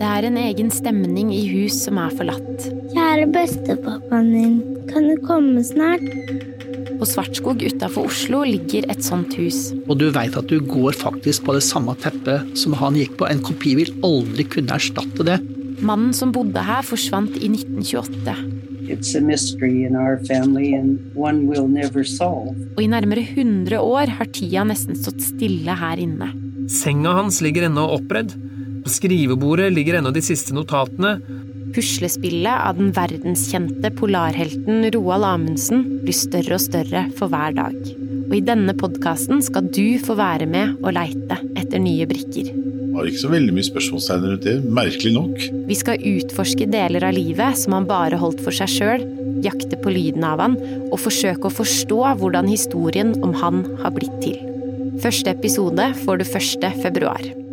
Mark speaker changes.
Speaker 1: Det er en egen stemning i hus som er forlatt.
Speaker 2: Kjære bestepappaen din, kan du komme snart?
Speaker 1: På Svartskog utafor Oslo ligger et sånt hus.
Speaker 3: Og du veit at du går faktisk på det samme teppet som han gikk på. En kopi vil aldri kunne erstatte det.
Speaker 1: Mannen som bodde her, forsvant i 1928.
Speaker 4: It's a mystery in our family and one we'll never solve.
Speaker 1: Og i nærmere 100 år har tida nesten stått stille her inne.
Speaker 5: Senga hans ligger ennå oppredd. På skrivebordet ligger ennå de siste notatene.
Speaker 1: Puslespillet av den verdenskjente polarhelten Roald Amundsen blir større og større for hver dag. Og i denne podkasten skal du få være med og leite etter nye brikker.
Speaker 6: Var ikke så veldig mye spørsmålstegn rundt det, merkelig nok.
Speaker 1: Vi skal utforske deler av livet som han bare holdt for seg sjøl, jakte på lyden av han og forsøke å forstå hvordan historien om han har blitt til. Første episode får du 1. februar.